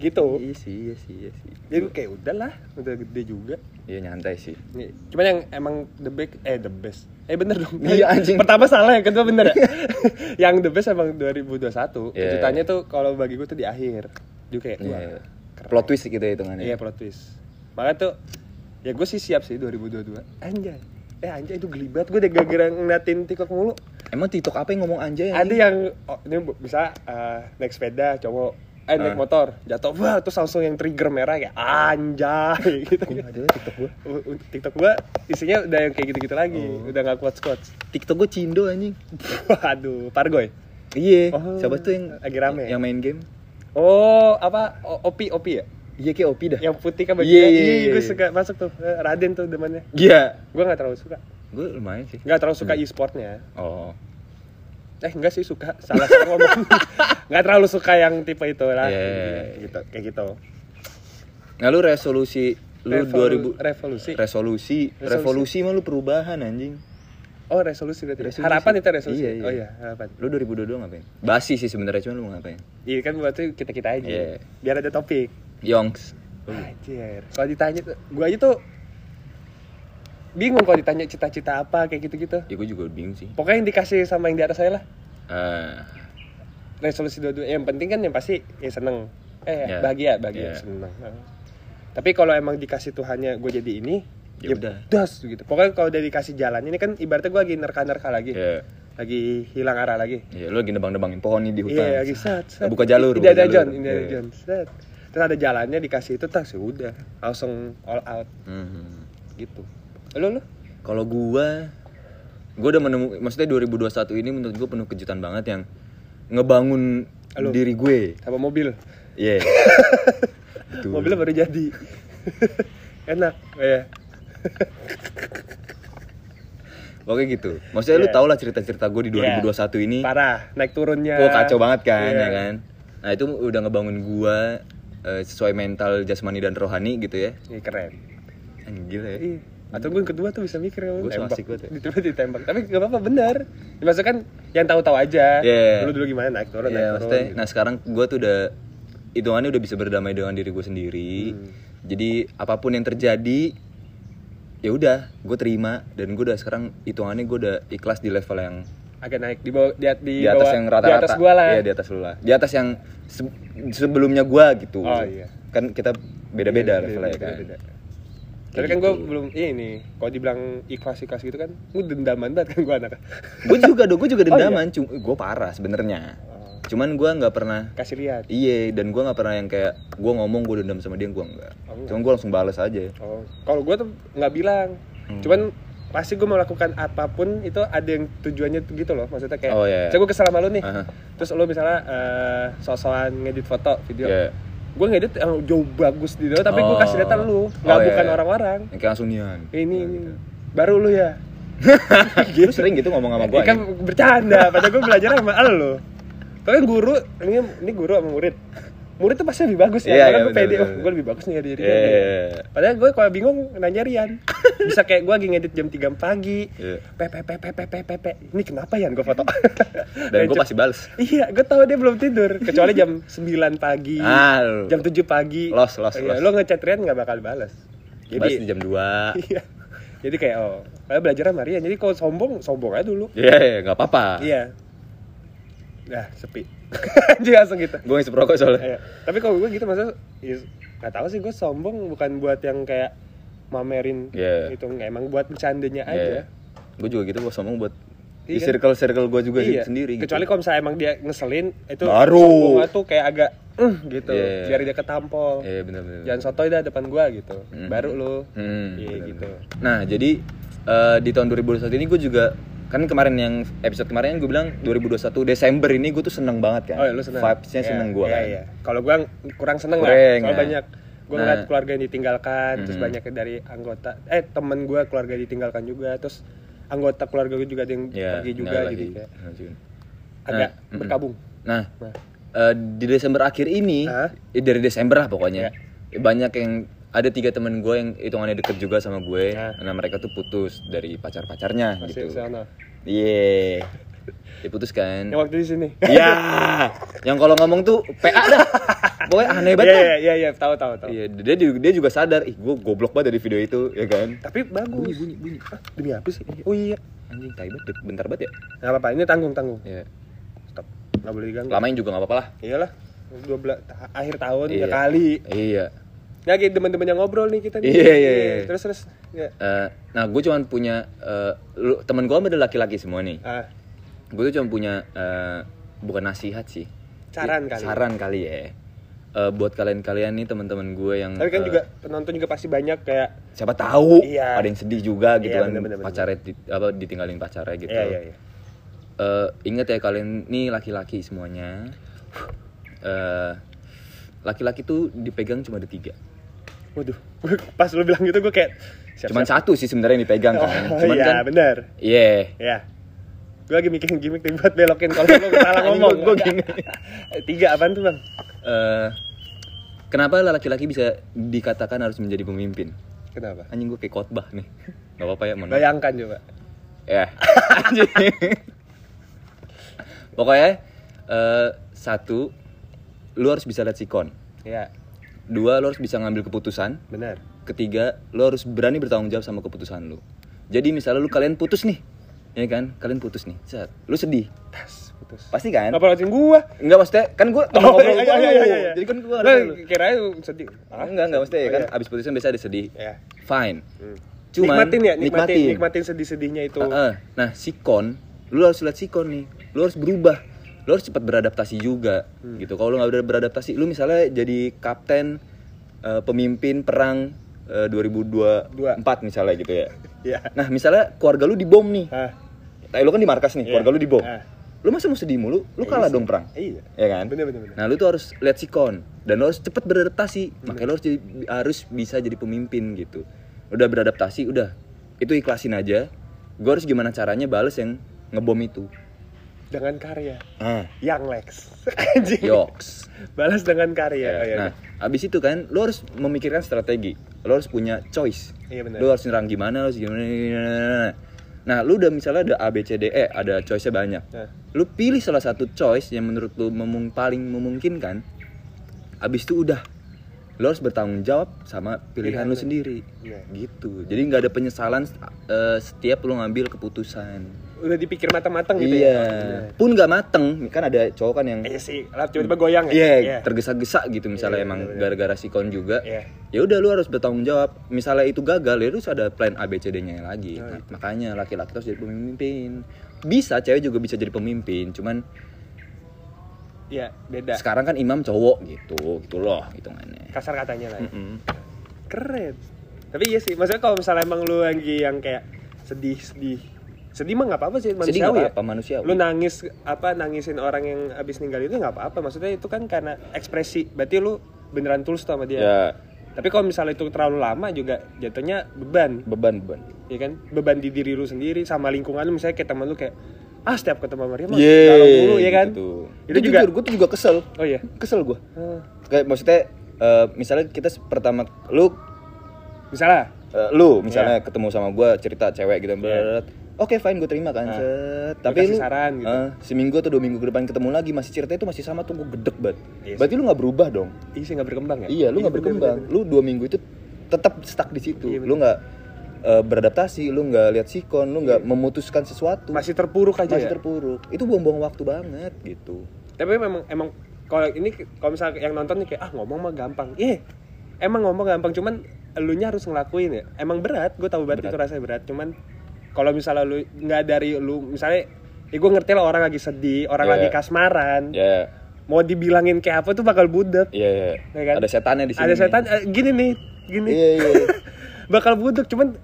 Speaker 1: gitu.
Speaker 2: Iya sih, iya sih, iya sih.
Speaker 1: Jadi gua kayak udahlah, udah gede juga.
Speaker 2: Iya nyantai sih.
Speaker 1: Nih, Cuman yang emang the best eh the best. Eh bener dong.
Speaker 2: Iya, anjing.
Speaker 1: Pertama salah yang kedua bener ya. yang the best emang 2021.
Speaker 2: Iya.
Speaker 1: Kejutannya tuh kalau bagi gue tuh di akhir. Juga kayak wah.
Speaker 2: Iya. Plot twist gitu ya hitungannya.
Speaker 1: Iya plot twist. Makanya tuh ya gue sih siap sih 2022. Anjay. Eh anjay itu gelibat gue udah gara-gara ngeliatin TikTok mulu.
Speaker 2: Emang TikTok apa yang ngomong anjay?
Speaker 1: Ada
Speaker 2: anjing?
Speaker 1: yang oh, ini bu- bisa eh, naik sepeda cowok eh naik
Speaker 2: Ah.
Speaker 1: motor jatuh wah terus langsung yang trigger merah kayak anjay gitu.
Speaker 2: Gua nggak ada lah TikTok gua.
Speaker 1: U- u- TikTok gua isinya udah yang kayak gitu-gitu lagi, udah nggak kuat squat.
Speaker 2: TikTok gua cindo anjing.
Speaker 1: Waduh, pargoy.
Speaker 2: Iya.
Speaker 1: Oh.
Speaker 2: Siapa tuh yang
Speaker 1: Lagi rame.
Speaker 2: Yang main game?
Speaker 1: Oh, apa O- opi opi ya?
Speaker 2: Iya kayak Opi dah.
Speaker 1: Yang putih kan
Speaker 2: Iya,
Speaker 1: bajunya.
Speaker 2: iya, iya.
Speaker 1: gue suka masuk tuh. Eh, Raden tuh demannya.
Speaker 2: Iya.
Speaker 1: Gua nggak terlalu suka.
Speaker 2: Gue lumayan sih.
Speaker 1: Nggak terlalu suka e-sportnya.
Speaker 2: Oh.
Speaker 1: Eh, enggak sih suka. Salah salah ngomong. Nggak terlalu suka yang tipe itu lah.
Speaker 2: Iya, iya, iya.
Speaker 1: Gitu, kayak gitu.
Speaker 2: Nah lu resolusi lu
Speaker 1: Revolu-
Speaker 2: 2000
Speaker 1: revolusi.
Speaker 2: resolusi
Speaker 1: Resolusi.
Speaker 2: revolusi mah lu perubahan anjing.
Speaker 1: Oh, resolusi berarti.
Speaker 2: Resolusi.
Speaker 1: Harapan itu resolusi.
Speaker 2: Iya, iya.
Speaker 1: Oh iya, harapan.
Speaker 2: Lu 2022 ngapain? Basi sih sebenarnya cuma lu mau ngapain?
Speaker 1: Iya kan berarti kita-kita aja.
Speaker 2: Iya.
Speaker 1: Biar ada topik.
Speaker 2: Yongs. Hmm.
Speaker 1: Anjir. Kalau ditanya tuh, gua aja tuh bingung kalau ditanya cita-cita apa kayak gitu-gitu.
Speaker 2: Ya gue juga bingung sih.
Speaker 1: Pokoknya yang dikasih sama yang di atas saya lah.
Speaker 2: Eh,
Speaker 1: resolusi dua-dua yang penting kan yang pasti ya seneng eh
Speaker 2: Ya.
Speaker 1: bahagia bahagia
Speaker 2: Ya.
Speaker 1: seneng Nah. tapi kalau emang dikasih Tuhannya gue jadi ini
Speaker 2: Ya udah.
Speaker 1: das gitu pokoknya kalau udah dikasih jalan ini kan ibaratnya gue lagi nerka-nerka lagi
Speaker 2: Iya.
Speaker 1: lagi hilang arah lagi
Speaker 2: Iya, lu lagi nebang-nebangin pohon nih di hutan.
Speaker 1: iya lagi sat, sat.
Speaker 2: Buka jalur.
Speaker 1: tidak
Speaker 2: buka
Speaker 1: ada
Speaker 2: jalur.
Speaker 1: John tidak ada
Speaker 2: Iya.
Speaker 1: John sat. terus ada jalannya dikasih itu tas ya udah langsung all out
Speaker 2: Mhm.
Speaker 1: gitu lo lo
Speaker 2: Kalau gua gua udah menemukan maksudnya 2021 ini menurut gua penuh kejutan banget yang ngebangun
Speaker 1: Halo.
Speaker 2: diri gue.
Speaker 1: sama mobil
Speaker 2: Iya. Betul.
Speaker 1: mobilnya baru jadi enak ya
Speaker 2: Pokoknya gitu. Maksudnya lu
Speaker 1: Iya.
Speaker 2: tau lah cerita-cerita gue di 2021 ini.
Speaker 1: parah naik turunnya
Speaker 2: Wah kacau banget kan,
Speaker 1: Iya.
Speaker 2: ya kan. Nah itu udah ngebangun gua eh, sesuai mental jasmani dan rohani gitu ya.
Speaker 1: Iya, keren
Speaker 2: Anjir ya.
Speaker 1: Iya. atau gue yang kedua tuh bisa mikir
Speaker 2: Gua so
Speaker 1: tembak.
Speaker 2: asik banget ya.
Speaker 1: Ditembak, ditembak tapi gak apa-apa bener dimasukkan kan yang tahu-tahu aja
Speaker 2: Iya.
Speaker 1: dulu dulu gimana naik turun
Speaker 2: Iya,
Speaker 1: naik turun
Speaker 2: maksudnya,
Speaker 1: gitu.
Speaker 2: nah sekarang gue tuh udah hitungannya udah bisa berdamai dengan diri gue sendiri.
Speaker 1: Hmm.
Speaker 2: Jadi apapun yang terjadi, ya udah gue terima dan gue udah sekarang hitungannya gue udah ikhlas di level yang
Speaker 1: agak naik di bawah di, di,
Speaker 2: di atas
Speaker 1: bawah-
Speaker 2: yang rata-rata.
Speaker 1: di atas gua lah
Speaker 2: Iya di atas lu lah. Di atas yang se- sebelumnya gue gitu.
Speaker 1: Oh, iya.
Speaker 2: Kan kita beda-beda
Speaker 1: Iya,
Speaker 2: levelnya kan. gitu.
Speaker 1: beda-beda. tapi kan gue belum ini kalau dibilang ikhlas ikhlas gitu kan gue dendaman banget kan gue anak
Speaker 2: Gue juga dong, gue
Speaker 1: iya?
Speaker 2: juga dendaman. Cuma gue parah sebenarnya. Cuman gue nggak pernah
Speaker 1: kasih lihat
Speaker 2: Iya, dan gua nggak pernah yang kayak gua ngomong gue dendam sama dia, gua nggak.
Speaker 1: Oh, enggak.
Speaker 2: Cuman gua langsung balas aja.
Speaker 1: Oh, kalau gue tuh nggak bilang.
Speaker 2: Hmm.
Speaker 1: Cuman pasti gue melakukan apapun itu ada yang tujuannya tuh gitu loh. Maksudnya kayak,
Speaker 2: Oh, iya, iya.
Speaker 1: saya gue kesel sama lu nih.
Speaker 2: Aha.
Speaker 1: Terus lu misalnya eh sosokan ngedit foto video.
Speaker 2: Iya.
Speaker 1: Gue ngedit yang jauh bagus di video, tapi gue kasih lihat lu, nggak
Speaker 2: Oh, iya,
Speaker 1: bukan
Speaker 2: iya.
Speaker 1: orang-orang.
Speaker 2: Yang kayak langsung nian.
Speaker 1: Ini,
Speaker 2: Ya,
Speaker 1: ini.
Speaker 2: gitu.
Speaker 1: baru lu ya.
Speaker 2: Lu sering gitu ngomong sama gua.
Speaker 1: Ini kan
Speaker 2: nih?
Speaker 1: bercanda, padahal gue belajar sama lu. Tapi kan guru, ini ini guru sama murid. Murid tuh pasti lebih bagus ya,
Speaker 2: Iya,
Speaker 1: karena
Speaker 2: iya,
Speaker 1: gue
Speaker 2: benar,
Speaker 1: pede,
Speaker 2: benar,
Speaker 1: "Oh,
Speaker 2: benar.
Speaker 1: gue lebih bagus nih dari Rian
Speaker 2: Iya,
Speaker 1: nih."
Speaker 2: iya, iya.
Speaker 1: Padahal gue kalau bingung nanya Rian. Bisa kayak gue lagi ngedit jam 3 pagi.
Speaker 2: Iya.
Speaker 1: Pepepepepepepe. Ini kenapa Yan gue foto?
Speaker 2: Dan gua pasti balas.
Speaker 1: Iya, gue tahu dia belum tidur. Kecuali jam 9 pagi.
Speaker 2: Ah, lu-
Speaker 1: jam 7 pagi.
Speaker 2: Los, los,
Speaker 1: Iya,
Speaker 2: los.
Speaker 1: Lo ngechat Rian gak bakal balas.
Speaker 2: Balas di jam 2.
Speaker 1: Iya. Jadi kayak oh, saya belajar sama Rian. Jadi kalau sombong, sombong aja dulu.
Speaker 2: Iya, iya, nggak apa-apa.
Speaker 1: Iya. Nah, sepi. Jadi langsung gitu.
Speaker 2: Gua ngisep rokok soalnya.
Speaker 1: Iya. Tapi kalau gue gitu maksudnya ya, gak tahu sih gue sombong bukan buat yang kayak mamerin
Speaker 2: Iya.
Speaker 1: gitu nggak emang buat bercandanya
Speaker 2: Iya,
Speaker 1: aja.
Speaker 2: iya. Gua juga gitu, gua sombong buat di
Speaker 1: Iya.
Speaker 2: circle-circle gua juga
Speaker 1: Iya.
Speaker 2: sendiri. gitu.
Speaker 1: Kecuali kalau misalnya emang dia ngeselin itu
Speaker 2: Baru.
Speaker 1: sombongnya tuh kayak agak "Eh," gitu
Speaker 2: Iya, iya.
Speaker 1: biar dia ketampol.
Speaker 2: Iya, benar-benar.
Speaker 1: Jangan sotoy dah depan gua gitu.
Speaker 2: Mm.
Speaker 1: Baru lu.
Speaker 2: Hmm,
Speaker 1: Iya
Speaker 2: benar-benar.
Speaker 1: gitu.
Speaker 2: Nah, jadi eh, di tahun 2021 ini gue juga kan kemarin yang episode kemarin gue bilang 2021 Desember ini gue tuh seneng banget kan.
Speaker 1: Oh, ya, lu seneng.
Speaker 2: Vibes-nya
Speaker 1: Iya,
Speaker 2: seneng gue
Speaker 1: iya,
Speaker 2: kan.
Speaker 1: iya. Kalau gua kurang seneng lah.
Speaker 2: Kurang,
Speaker 1: Soalnya
Speaker 2: nah.
Speaker 1: banyak gua
Speaker 2: Nah.
Speaker 1: ngeliat keluarga yang ditinggalkan, terus
Speaker 2: Mhm.
Speaker 1: banyak dari anggota eh temen gua keluarga ditinggalkan juga, terus anggota keluarga gue juga ada yang pergi
Speaker 2: Iya,
Speaker 1: juga gitu
Speaker 2: tinggal
Speaker 1: jadi
Speaker 2: lagi.
Speaker 1: kayak
Speaker 2: Nah, cuman.
Speaker 1: agak
Speaker 2: mm-mm.
Speaker 1: berkabung.
Speaker 2: Nah,
Speaker 1: Nah.
Speaker 2: eh, di Desember akhir ini,
Speaker 1: Hah? Iya.
Speaker 2: eh, dari Desember lah pokoknya, banyak yang ada tiga temen gue yang hitungannya deket juga sama gue,
Speaker 1: Nah.
Speaker 2: nah mereka tuh putus dari pacar pacarnya
Speaker 1: Masih di
Speaker 2: gitu.
Speaker 1: sana.
Speaker 2: Iya, diputus kan?
Speaker 1: Yang waktu di sini.
Speaker 2: Iya, yang kalau ngomong tuh PA dah, pokoknya aneh banget.
Speaker 1: Iya
Speaker 2: dah.
Speaker 1: iya iya iya, tahu tahu tahu.
Speaker 2: Eh, Iya, dia juga- dia juga sadar, ih gue goblok banget dari video itu, ya kan?
Speaker 1: Tapi bagus.
Speaker 2: bunyi bunyi. Ah,
Speaker 1: Demi apa sih? Oh iya.
Speaker 2: Anjing tai banget, bentar banget ya.
Speaker 1: Gak apa-apa, ini tanggung-tanggung.
Speaker 2: Iya.
Speaker 1: Stop. Gak boleh diganggu.
Speaker 2: Lamain juga nggak apa-apa lah.
Speaker 1: Iyalah. 12 ta- akhir tahun ya
Speaker 2: Iya.
Speaker 1: kali.
Speaker 2: Iya.
Speaker 1: Ya kayak teman-teman yang ngobrol nih kita nih.
Speaker 2: Iya, iya, iya.
Speaker 1: Terus terus ya.
Speaker 2: Eh, nah, gue cuman punya eh, lu, temen gue ada laki-laki semua nih.
Speaker 1: Ah,
Speaker 2: Gue tuh cuma punya eh, bukan nasihat sih.
Speaker 1: Saran
Speaker 2: Ya,
Speaker 1: kali.
Speaker 2: Saran kali ya. Eh, buat kalian-kalian nih teman-teman gue yang
Speaker 1: tapi kan
Speaker 2: eh,
Speaker 1: juga penonton juga pasti banyak kayak
Speaker 2: siapa tahu
Speaker 1: Iya.
Speaker 2: ada yang sedih juga gitu
Speaker 1: Iya,
Speaker 2: kan
Speaker 1: bener, bener, bener.
Speaker 2: pacarnya di- apa ditinggalin pacarnya gitu.
Speaker 1: Iya, iya, iya.
Speaker 2: Eh, ingat ya kalian nih laki-laki semuanya. Eh, laki-laki tuh dipegang cuma ada tiga.
Speaker 1: Waduh, gua- pas lu bilang gitu gue kayak siap,
Speaker 2: Cuman
Speaker 1: siap.
Speaker 2: satu sih sebenarnya yang dipegang
Speaker 1: Oh,
Speaker 2: kan. Cuman
Speaker 1: iya,
Speaker 2: kan,
Speaker 1: benar.
Speaker 2: iya.
Speaker 1: Iya. Gue lagi mikirin gimmick nih buat belokin kalau lu salah ngomong.
Speaker 2: Gua- gua gini.
Speaker 1: Tiga apaan tuh, Bang?
Speaker 2: Eh, kenapa laki-laki bisa dikatakan harus menjadi pemimpin?
Speaker 1: Kenapa?
Speaker 2: Anjing gue kayak khotbah nih. Gak apa-apa ya, mohon maaf.
Speaker 1: Bayangkan coba.
Speaker 2: Ya. Anjing. Pokoknya eh, satu, lu harus bisa lihat sikon.
Speaker 1: Iya,
Speaker 2: Dua, lu harus bisa ngambil keputusan.
Speaker 1: benar.
Speaker 2: Ketiga, lu harus berani bertanggung jawab sama keputusan lu. Jadi misalnya lu kalian putus nih, ya kan kalian putus nih set lu sedih
Speaker 1: Tas, putus.
Speaker 2: pasti kan
Speaker 1: Apa latihan gua?
Speaker 2: enggak maksudnya kan gue temen
Speaker 1: Oh,
Speaker 2: ngobrol
Speaker 1: iya, iya,
Speaker 2: gua lu.
Speaker 1: iya, iya.
Speaker 2: jadi kan gue
Speaker 1: Lah, kirain sedih.
Speaker 2: Ah, enggak enggak maksudnya ya
Speaker 1: Oh,
Speaker 2: kan
Speaker 1: iya.
Speaker 2: abis putusan biasa ada sedih
Speaker 1: Ya.
Speaker 2: fine
Speaker 1: Hmm.
Speaker 2: cuman
Speaker 1: nikmatin ya, nikmatin, nikmatin, sedih-sedihnya itu.
Speaker 2: Heeh. nah sikon lu harus lihat sikon nih lu harus berubah lu harus cepat beradaptasi juga
Speaker 1: Hmm.
Speaker 2: gitu kalau lu nggak ber- beradaptasi lu misalnya jadi kapten eh, pemimpin perang eh, 2024 misalnya gitu ya
Speaker 1: Iya.
Speaker 2: nah misalnya keluarga lu dibom nih
Speaker 1: Hah.
Speaker 2: nah, lu kan di markas
Speaker 1: Iya.
Speaker 2: nih keluarga lu dibom
Speaker 1: Ah.
Speaker 2: lu masa mau sedih mulu lu kalah dong perang
Speaker 1: Iya.
Speaker 2: ya kan
Speaker 1: Bener bener bener.
Speaker 2: Nah lu tuh harus lihat sikon dan lu harus cepet beradaptasi. Makanya lu harus jadi- harus bisa jadi pemimpin gitu. Udah beradaptasi, udah itu ikhlasin aja. Gue harus gimana caranya bales yang ngebom itu.
Speaker 1: Dengan karya.
Speaker 2: Ah,
Speaker 1: Yang Lex. Anjing.
Speaker 2: yoks.
Speaker 1: Balas dengan karya. Oh, iya,
Speaker 2: nah, abis itu kan lu harus memikirkan strategi. Lu harus punya choice.
Speaker 1: Iya benar.
Speaker 2: Lu harus nyerang gimana, lu harus gimana. gimana. Nah, lu udah misalnya ada A B C D E, ada choice-nya banyak.
Speaker 1: Nah,
Speaker 2: lu pilih salah satu choice yang menurut lu memung paling memungkinkan abis itu udah lu harus bertanggung jawab sama pilihan lu sendiri
Speaker 1: Iya.
Speaker 2: gitu jadi nggak ada penyesalan eh, setiap lu ngambil keputusan
Speaker 1: udah dipikir matang-matang gitu
Speaker 2: iya
Speaker 1: ya. Bener.
Speaker 2: pun nggak mateng kan ada cowok kan yang
Speaker 1: Iya sih, lah tiba-tiba goyang ya.
Speaker 2: iya
Speaker 1: Iya.
Speaker 2: tergesa-gesa gitu misalnya
Speaker 1: Iya,
Speaker 2: emang
Speaker 1: bener-bener.
Speaker 2: gara-gara sikon juga
Speaker 1: Iya.
Speaker 2: ya udah lu harus bertanggung jawab misalnya itu gagal ya lu harus ada plan ABCD-nya lagi
Speaker 1: Nah,
Speaker 2: Nah, makanya laki-laki harus jadi pemimpin bisa cewek juga bisa jadi pemimpin cuman
Speaker 1: Iya, beda.
Speaker 2: sekarang kan imam cowok gitu gitu loh hitungannya
Speaker 1: Kasar katanya lah. ya.
Speaker 2: Mm-mm.
Speaker 1: Keren. Tapi iya sih, maksudnya kalau misalnya emang lu lagi yang kayak sedih-sedih. Sedih mah nggak apa-apa sih
Speaker 2: sedih nggak
Speaker 1: manusiawi ya.
Speaker 2: apa manusia
Speaker 1: Lu nangis apa nangisin orang yang abis ninggal itu nggak apa-apa. Maksudnya itu kan karena ekspresi. Berarti lu beneran tulus tuh sama dia.
Speaker 2: ya
Speaker 1: Tapi kalau misalnya itu terlalu lama juga jatuhnya beban,
Speaker 2: beban beban
Speaker 1: ya kan? Beban di diri lu sendiri sama lingkungan lu misalnya kayak teman lu kayak ah setiap ketemu sama dia mah galau mulu ya kan?
Speaker 2: gitu.
Speaker 1: Itu
Speaker 2: itu
Speaker 1: juga-
Speaker 2: juga gue tuh juga kesel
Speaker 1: Oh iya.
Speaker 2: kesel gue
Speaker 1: Hmm.
Speaker 2: kayak maksudnya eh, misalnya kita se- pertama lu
Speaker 1: Misalnya
Speaker 2: eh, lu misalnya
Speaker 1: Iya.
Speaker 2: ketemu sama gue cerita cewek gitu berat Oke fine gue terima kan set. Tapi
Speaker 1: Ah. kasih
Speaker 2: lu
Speaker 1: saran gitu.
Speaker 2: eh, seminggu atau dua minggu ke depan ketemu lagi masih cerita itu masih sama tuh gue gedek banget.
Speaker 1: Iya sih.
Speaker 2: Berarti lu nggak berubah dong?
Speaker 1: Ih, sih nggak berkembang ya?
Speaker 2: Iya, lu nggak berkembang. Lu dua minggu itu tetap stuck di situ.
Speaker 1: Iya, bener.
Speaker 2: lu nggak eh, beradaptasi, lu nggak lihat sikon, lu nggak memutuskan sesuatu.
Speaker 1: Masih terpuruk aja
Speaker 2: Iya. Masih
Speaker 1: ya?
Speaker 2: terpuruk. Itu buang-buang waktu banget gitu.
Speaker 1: Tapi memang emang kalau ini kalau misalnya yang nonton nih kayak ah ngomong mah gampang. Iya. Emang ngomong gampang cuman elunya harus ngelakuin ya. Emang berat, gue tahu banget itu rasanya berat. Cuman kalau misalnya lu nggak dari lu misalnya ya gue ngerti lah orang lagi sedih, orang
Speaker 2: Iya.
Speaker 1: lagi kasmaran.
Speaker 2: Ya,
Speaker 1: Mau dibilangin kayak apa tuh bakal budek.
Speaker 2: ya, ya.
Speaker 1: Ya kan?
Speaker 2: Ada setannya di sini.
Speaker 1: Ada
Speaker 2: nih.
Speaker 1: setan eh, gini nih, gini.
Speaker 2: Iya, iya. iya.
Speaker 1: bakal budek cuman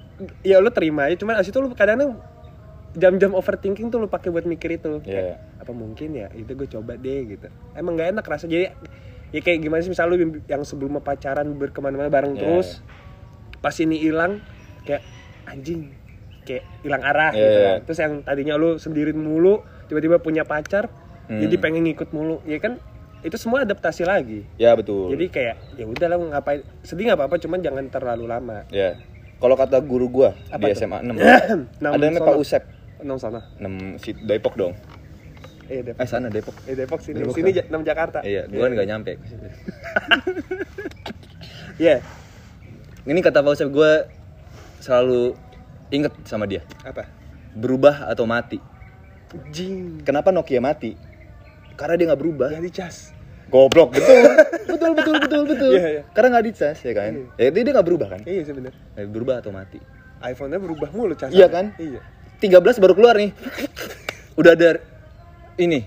Speaker 1: ya lu terima aja cuman abis itu lu kadang jam-jam overthinking tuh lu pakai buat mikir itu
Speaker 2: Iya.
Speaker 1: apa mungkin ya itu gue coba deh gitu emang nggak enak rasa jadi ya kayak gimana sih misalnya lu yang sebelumnya pacaran berkemana-mana bareng
Speaker 2: Iya,
Speaker 1: terus pas ini hilang kayak anjing kayak hilang arah
Speaker 2: Iya,
Speaker 1: gitu
Speaker 2: iya.
Speaker 1: kan terus yang tadinya lu sendirian mulu tiba-tiba punya pacar
Speaker 2: Hmm.
Speaker 1: jadi pengen ngikut mulu ya kan itu semua adaptasi lagi
Speaker 2: Ya, betul.
Speaker 1: jadi kayak ya udahlah ngapain sedih nggak apa-apa cuman jangan terlalu lama
Speaker 2: ya. Kalau kata guru gua
Speaker 1: Apa
Speaker 2: di
Speaker 1: tuh?
Speaker 2: SMA 6.
Speaker 1: Enam
Speaker 2: ada namanya Pak
Speaker 1: sono.
Speaker 2: Usep.
Speaker 1: Enam sana.
Speaker 2: 6 si Depok dong.
Speaker 1: Eh Depok.
Speaker 2: Eh, sana Depok.
Speaker 1: Eh Depok sini.
Speaker 2: Depok,
Speaker 1: sini
Speaker 2: kan?
Speaker 1: Ja- enam Jakarta.
Speaker 2: Iya, gua kan nggak nyampe.
Speaker 1: Iya.
Speaker 2: Ini kata Pak Usep gua selalu inget sama dia.
Speaker 1: Apa?
Speaker 2: Berubah atau mati.
Speaker 1: Jing.
Speaker 2: Kenapa Nokia mati? Karena dia nggak berubah.
Speaker 1: Gak dicas.
Speaker 2: Goblok, betul. betul, betul, betul, betul.
Speaker 1: Iya, iya.
Speaker 2: Karena nggak dicas ya kan? Ya, dia dia nggak berubah kan?
Speaker 1: Iya sebenernya.
Speaker 2: Eh, Berubah atau mati.
Speaker 1: iPhone-nya berubah mulu cas.
Speaker 2: Iya kan?
Speaker 1: Iya.
Speaker 2: 13 baru keluar nih. Udah ada ini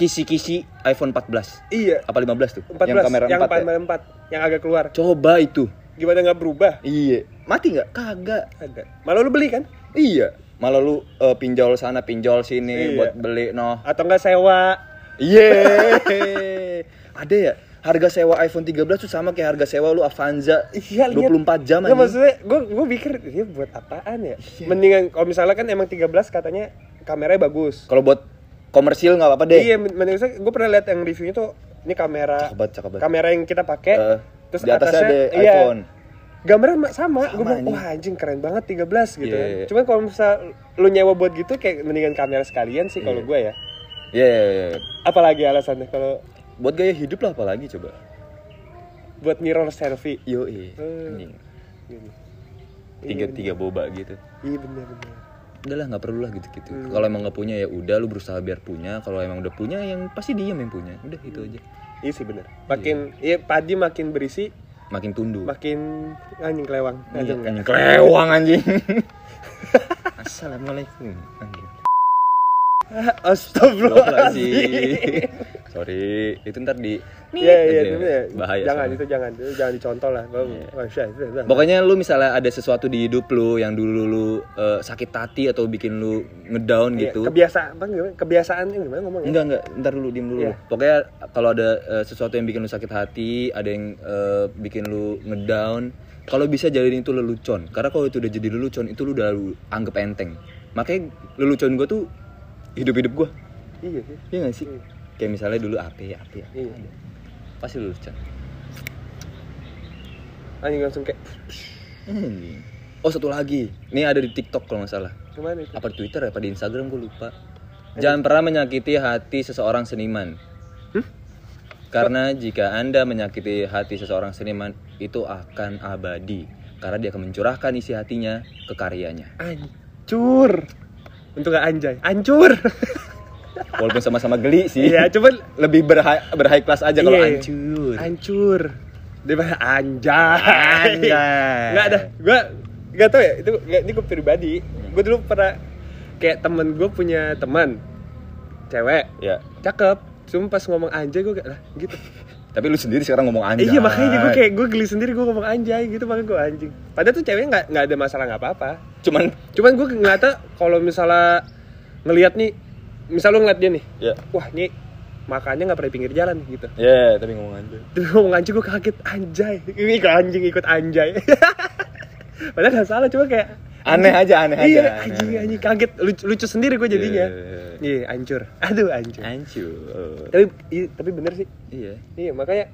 Speaker 2: kisi-kisi iPhone 14.
Speaker 1: Iya.
Speaker 2: Apa 15 tuh?
Speaker 1: 14.
Speaker 2: Yang kamera
Speaker 1: yang
Speaker 2: 4. ya?
Speaker 1: kamera empat. Yang agak keluar.
Speaker 2: Coba itu.
Speaker 1: Gimana nggak berubah?
Speaker 2: Iya. Mati nggak? Kagak.
Speaker 1: Ada. Malah lu beli kan?
Speaker 2: Iya. Malah lu eh, pinjol sana, pinjol sini
Speaker 1: Iya.
Speaker 2: buat beli noh.
Speaker 1: Atau nggak sewa?
Speaker 2: Iya. ada ya? Harga sewa iPhone 13 tuh sama kayak harga sewa lu Avanza
Speaker 1: Iya, lihat.
Speaker 2: 24 jam
Speaker 1: Nggak,
Speaker 2: anjing. Iya.
Speaker 1: maksudnya gue gue pikir ini buat apaan ya? Mendingan kalau misalnya kan emang 13 katanya kameranya bagus.
Speaker 2: Kalau buat komersil nggak apa-apa deh.
Speaker 1: Iya, men- menurut saya gue pernah lihat yang reviewnya tuh ini kamera
Speaker 2: Cakep banget, cakep banget.
Speaker 1: kamera yang kita pakai
Speaker 2: Eh,
Speaker 1: terus
Speaker 2: di atasnya ada
Speaker 1: iya,
Speaker 2: iPhone.
Speaker 1: Gambarnya ma- sama,
Speaker 2: Sama,
Speaker 1: gue bilang
Speaker 2: anjing.
Speaker 1: wah anjing keren banget 13 gitu.
Speaker 2: Iya,
Speaker 1: kan.
Speaker 2: iya, iya.
Speaker 1: Cuman kalau misal lu nyewa buat gitu kayak mendingan kamera sekalian sih kalau gue ya.
Speaker 2: Iya, iya, iya.
Speaker 1: Apalagi alasannya kalau
Speaker 2: Buat gaya hidup lah apalagi coba.
Speaker 1: buat mirror selfie.
Speaker 2: Yo,
Speaker 1: Eh.
Speaker 2: iya.
Speaker 1: iya,
Speaker 2: Anjing.
Speaker 1: Gini.
Speaker 2: Tiga tiga boba gitu.
Speaker 1: Iya bener bener.
Speaker 2: udahlah nggak perlu lah gitu gitu
Speaker 1: Hmm.
Speaker 2: kalau emang nggak punya ya udah lu berusaha biar punya kalau emang udah punya yang pasti diem yang punya udah itu aja
Speaker 1: Iya sih bener. Makin iya padi makin berisi,
Speaker 2: makin tunduk
Speaker 1: makin anjing kelewang.
Speaker 2: Iya,
Speaker 1: Anjing nggak?
Speaker 2: kelewang anjing assalamualaikum anjing.
Speaker 1: Astagfirullahaladzim.
Speaker 2: sorry itu ntar di
Speaker 1: Iya iya
Speaker 2: Aduh,
Speaker 1: itu ya.
Speaker 2: bahaya
Speaker 1: Jangan
Speaker 2: soalnya.
Speaker 1: itu jangan itu jangan dicontoh lah. Bang. Wah, syah, syah, syah.
Speaker 2: Pokoknya lu misalnya ada sesuatu di hidup lu yang dulu lu eh, sakit hati atau bikin lu ngedown
Speaker 1: Iya,
Speaker 2: gitu.
Speaker 1: Kebiasaan bang gimana? Kebiasaan ini gimana ya? ngomongnya?
Speaker 2: Enggak enggak, ntar dulu diem dulu.
Speaker 1: Iya.
Speaker 2: Pokoknya kalau ada eh, sesuatu yang bikin lu sakit hati, ada yang eh, bikin lu ngedown, kalau bisa jadiin itu lelucon. Karena kalau itu udah jadi lelucon, itu lu udah lu anggap enteng. Makanya lelucon gua tuh hidup-hidup gua.
Speaker 1: Iya sih.
Speaker 2: Iya gak sih? Kayak misalnya dulu AP, AP, AP.
Speaker 1: Iya.
Speaker 2: ada. Pasti lelucon.
Speaker 1: Anjing langsung kayak
Speaker 2: Anjing. Oh, satu lagi. Ini ada di TikTok kalau nggak salah.
Speaker 1: gimana itu?
Speaker 2: apa di Twitter ya, apa di Instagram gue lupa. Jangan pernah menyakiti hati seseorang seniman. Karena jika Anda menyakiti hati seseorang seniman, itu akan abadi. Karena dia akan mencurahkan isi hatinya ke karyanya.
Speaker 1: Ancur. Untuk gak anjay. Ancur.
Speaker 2: Walaupun sama-sama geli sih.
Speaker 1: Iya cuman
Speaker 2: Lebih berha berhigh class aja kalau
Speaker 1: Iya.
Speaker 2: hancur.
Speaker 1: ancur. Dia bahas anjay.
Speaker 2: Anjay.
Speaker 1: Nggak ada. Gue nggak tau ya itu nggak- ini gue pribadi. Gue dulu pernah kayak temen gue punya teman cewek
Speaker 2: Ya.
Speaker 1: cakep. Cuma pas ngomong anjay gue kayak lah gitu.
Speaker 2: Tapi lu sendiri sekarang ngomong anjay.
Speaker 1: Iya makanya gue kayak gue geli sendiri gue ngomong anjay gitu makanya gue anjing. Padahal tuh cewek nggak nggak ada masalah nggak apa-apa.
Speaker 2: Cuman
Speaker 1: Cuman gue ngeliatnya kalau misalnya ngelihat nih, misal lu ngeliat dia nih,
Speaker 2: ya.
Speaker 1: wah nih makannya nggak pernah di pinggir jalan gitu.
Speaker 2: Ya, tapi ngomong anjay.
Speaker 1: Terus ngomong anjing gue kaget anjay, ini ikut anjing ikut anjay. Padahal nggak salah cuma kayak
Speaker 2: Aneh aja, aneh aja.
Speaker 1: iya
Speaker 2: aneh,
Speaker 1: anjing
Speaker 2: aneh.
Speaker 1: anjing kaget lucu, lucu sendiri gue jadinya.
Speaker 2: Iya, iya,
Speaker 1: Iya ancur, aduh ancur.
Speaker 2: Hancur.
Speaker 1: Tapi i- tapi bener sih,
Speaker 2: Iya.
Speaker 1: iya makanya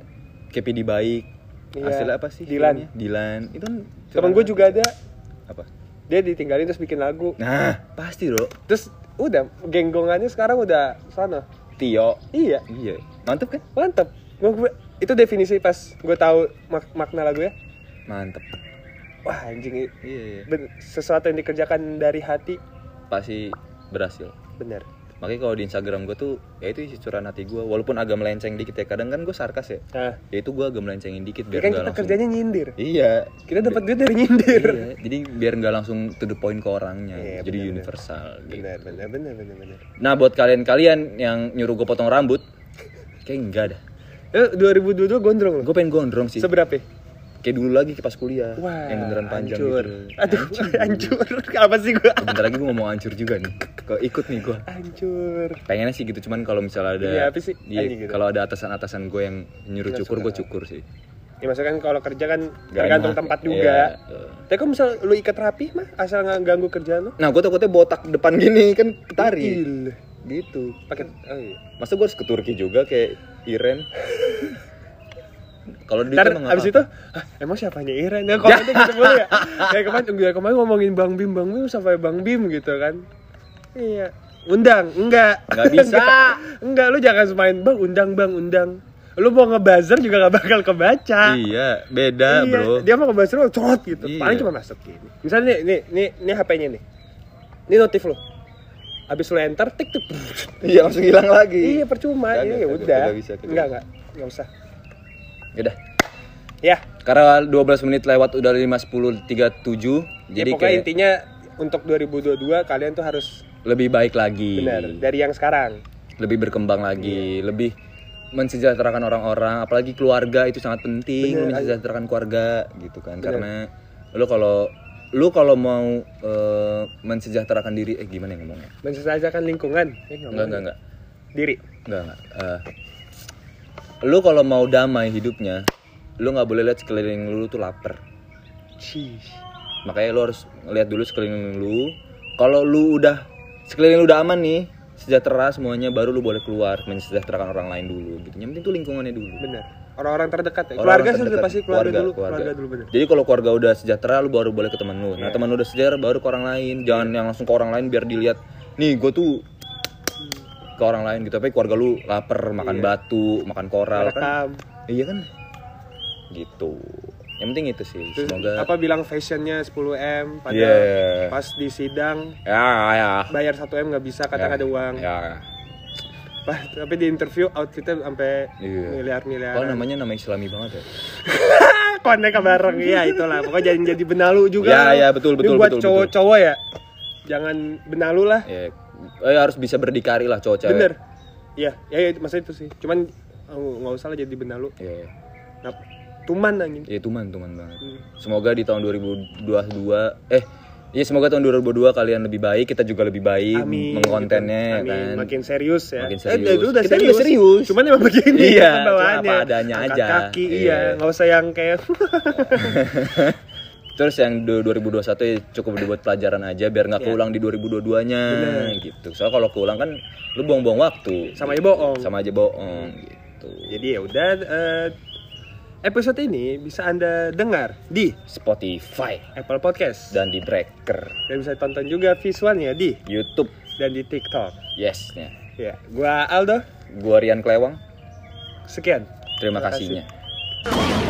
Speaker 2: KPD baik.
Speaker 1: Iya.
Speaker 2: Hasilnya apa sih?
Speaker 1: Dilan.
Speaker 2: filmnya? Dilan. Itu kan
Speaker 1: temen gue juga ada
Speaker 2: apa?
Speaker 1: dia ditinggalin terus bikin lagu
Speaker 2: Nah, pasti loh.
Speaker 1: terus udah genggongannya sekarang udah sana
Speaker 2: Tio.
Speaker 1: iya
Speaker 2: Iya. Mantep kan?
Speaker 1: mantep Gua- gua- itu definisi pas gue tahu mak- makna lagu ya
Speaker 2: Mantep.
Speaker 1: wah anjing i-
Speaker 2: Iya, iya.
Speaker 1: ben- sesuatu yang dikerjakan dari hati
Speaker 2: Pasti berhasil.
Speaker 1: bener
Speaker 2: Makanya kalau di Instagram gue tuh ya itu isi curahan hati gue walaupun agak melenceng dikit ya kadang kan gue sarkas ya
Speaker 1: nah
Speaker 2: ya itu gue agak melencengin dikit
Speaker 1: ya kan
Speaker 2: biar nggak
Speaker 1: kita
Speaker 2: langsung
Speaker 1: kerjanya nyindir
Speaker 2: iya
Speaker 1: kita dapat duit dari nyindir
Speaker 2: iya. jadi biar nggak langsung to the point ke orangnya
Speaker 1: Iya,
Speaker 2: jadi
Speaker 1: benar-benar.
Speaker 2: universal gitu.
Speaker 1: bener bener bener bener bener
Speaker 2: nah buat kalian-kalian yang nyuruh gue potong rambut kayak enggak dah
Speaker 1: eh 2022 gondrong loh
Speaker 2: gue pengen gondrong sih
Speaker 1: seberapa ya?
Speaker 2: kayak dulu lagi kayak pas kuliah
Speaker 1: wah
Speaker 2: yang beneran panjang
Speaker 1: hancur.
Speaker 2: gitu.
Speaker 1: aduh hancur apa sih gue
Speaker 2: Bentar lagi gue ngomong hancur juga nih. Kok ikut nih gue?
Speaker 1: hancur
Speaker 2: Pengennya sih gitu cuman kalau misalnya ada
Speaker 1: Iya, apa sih?
Speaker 2: Iya,
Speaker 1: Anjing gitu.
Speaker 2: kalau ada atasan-atasan gue yang nyuruh
Speaker 1: Nggak
Speaker 2: cukur
Speaker 1: suka.
Speaker 2: gue cukur sih.
Speaker 1: ya maksudnya kan kalau kerja kan
Speaker 2: Nggak
Speaker 1: tergantung
Speaker 2: enak.
Speaker 1: tempat
Speaker 2: Iya,
Speaker 1: juga
Speaker 2: iya.
Speaker 1: Tapi kalau misal lu ikat rapi mah asal nggak ganggu kerjaan lu.
Speaker 2: Nah gue takutnya botak depan gini kan ketari.
Speaker 1: Il.
Speaker 2: Gitu.
Speaker 1: Pakai oh iya.
Speaker 2: Masa gue harus ke Turki juga kayak Iren? kalau di
Speaker 1: Ntar
Speaker 2: emang nggak
Speaker 1: abis
Speaker 2: apa-apa.
Speaker 1: itu, "Hah, emang siapanya Iren? Ya kalau nanti ketemu lu ya. Kayak kemarin, kayak kemarin ngomongin Bang Bim, Bang Bim sampai Bang Bim gitu kan. Iya. Undang, enggak.
Speaker 2: Nggak bisa.
Speaker 1: Enggak. enggak, lu jangan semain Bang, undang Bang, undang. Lu mau ngebuzzer juga gak bakal kebaca.
Speaker 2: Iya,
Speaker 1: Iya,
Speaker 2: beda bro.
Speaker 1: Dia mau ngebuzzer lu cerot gitu.
Speaker 2: Iya.
Speaker 1: Paling cuma masuk gini. Misalnya nih, nih, nih, nih HP-nya nih. Ini notif lu. Abis lu enter, tik tik.
Speaker 2: Iya langsung hilang lagi.
Speaker 1: Iya percuma,
Speaker 2: Kagak,
Speaker 1: iya ya
Speaker 2: kagak,
Speaker 1: udah.
Speaker 2: kagak bisa, kagak
Speaker 1: Enggak enggak, enggak usah.
Speaker 2: Yaudah.
Speaker 1: Ya,
Speaker 2: Karena 12 menit lewat udah 5.10.37 Jadi
Speaker 1: ya, pokoknya
Speaker 2: kayak
Speaker 1: intinya untuk 2022 kalian tuh harus
Speaker 2: lebih baik lagi
Speaker 1: benar Iya. dari yang sekarang.
Speaker 2: lebih berkembang lagi, lebih mensejahterakan orang-orang, apalagi keluarga itu sangat penting, lu mensejahterakan keluarga gitu kan. Karena lu kalau lu kalau mau eh, mensejahterakan diri eh gimana ya ngomongnya?
Speaker 1: Mensejahterakan lingkungan. Eh, nggak
Speaker 2: Enggak,
Speaker 1: mau.
Speaker 2: enggak, enggak.
Speaker 1: Diri.
Speaker 2: Enggak, enggak. Eh, lu kalau mau damai hidupnya, lu nggak boleh lihat sekeliling lu tuh lapar.
Speaker 1: Cish.
Speaker 2: Makanya lu harus lihat dulu sekeliling lu. Kalau lu udah sekeliling lu udah aman nih, sejahtera semuanya baru lu boleh keluar mensejahterakan orang lain dulu gitu. Yang penting tuh lingkungannya dulu.
Speaker 1: Benar. Orang-orang terdekat ya.
Speaker 2: Orang-orang
Speaker 1: keluarga sih udah
Speaker 2: terdekat.
Speaker 1: pasti keluarga, dulu, keluarga, dulu benar.
Speaker 2: Jadi kalau keluarga udah sejahtera lu baru boleh ke teman lu. Nah, teman lu udah sejahtera baru ke orang lain. Jangan yang langsung ke orang lain biar dilihat, "Nih, gue tuh ke orang lain gitu." Tapi keluarga lu
Speaker 1: Iya
Speaker 2: lapar, makan batu, makan koral kan.
Speaker 1: Rekam.
Speaker 2: Iya kan? Gitu. yang penting itu sih
Speaker 1: Terus
Speaker 2: semoga
Speaker 1: apa bilang fashionnya 10M pada
Speaker 2: Yeah.
Speaker 1: pas di sidang
Speaker 2: ya ya
Speaker 1: bayar 1M nggak bisa
Speaker 2: ya,
Speaker 1: kadang ada uang
Speaker 2: ya
Speaker 1: Pa- tapi di interview outfitnya sampai
Speaker 2: Iya.
Speaker 1: miliar-miliar
Speaker 2: Kalau namanya nama islami banget ya
Speaker 1: konek Ah, bareng ya itulah pokoknya jangan jadi benalu juga
Speaker 2: Ya, ya,
Speaker 1: Ini
Speaker 2: betul, betul,
Speaker 1: buat
Speaker 2: betul, betul.
Speaker 1: cowok-cowok ya jangan benalu lah
Speaker 2: ya eh, harus bisa berdikari lah cowok cewek
Speaker 1: bener ya ya, ya maksudnya itu sih cuman oh, nggak usah lah jadi benalu
Speaker 2: ya
Speaker 1: nah, tuman anjing
Speaker 2: ya tuman tuman banget
Speaker 1: Hmm.
Speaker 2: semoga di tahun 2022 eh ya semoga tahun 2022 kalian lebih baik kita juga lebih baik mengkontennya ya
Speaker 1: Amin.
Speaker 2: kan
Speaker 1: makin serius ya
Speaker 2: Makin
Speaker 1: Eh, udah,
Speaker 2: serius.
Speaker 1: udah
Speaker 2: Kita
Speaker 1: serius.
Speaker 2: udah serius.
Speaker 1: cuman emang begini
Speaker 2: Iya,
Speaker 1: kan bawaannya.
Speaker 2: cuma apa adanya
Speaker 1: Angkat
Speaker 2: aja.
Speaker 1: kaki
Speaker 2: Iya.
Speaker 1: iya nggak usah yang kayak
Speaker 2: Terus yang du- 2021 ya cukup dibuat pelajaran aja biar
Speaker 1: Ya.
Speaker 2: nggak keulang di 2022-nya gitu. Soalnya kalau keulang kan lu buang-buang waktu.
Speaker 1: sama ya bohong
Speaker 2: Sama aja bohong gitu.
Speaker 1: jadi ya udah eh, episode ini bisa anda dengar di
Speaker 2: Spotify
Speaker 1: Apple Podcast
Speaker 2: dan di Breaker,
Speaker 1: dan bisa tonton juga visualnya di
Speaker 2: YouTube,
Speaker 1: dan di TikTok
Speaker 2: yes-nya.
Speaker 1: ya gua Aldo
Speaker 2: Gua Rian Klewang.
Speaker 1: sekian Terima
Speaker 2: Terima
Speaker 1: kasih.
Speaker 2: kasihnya.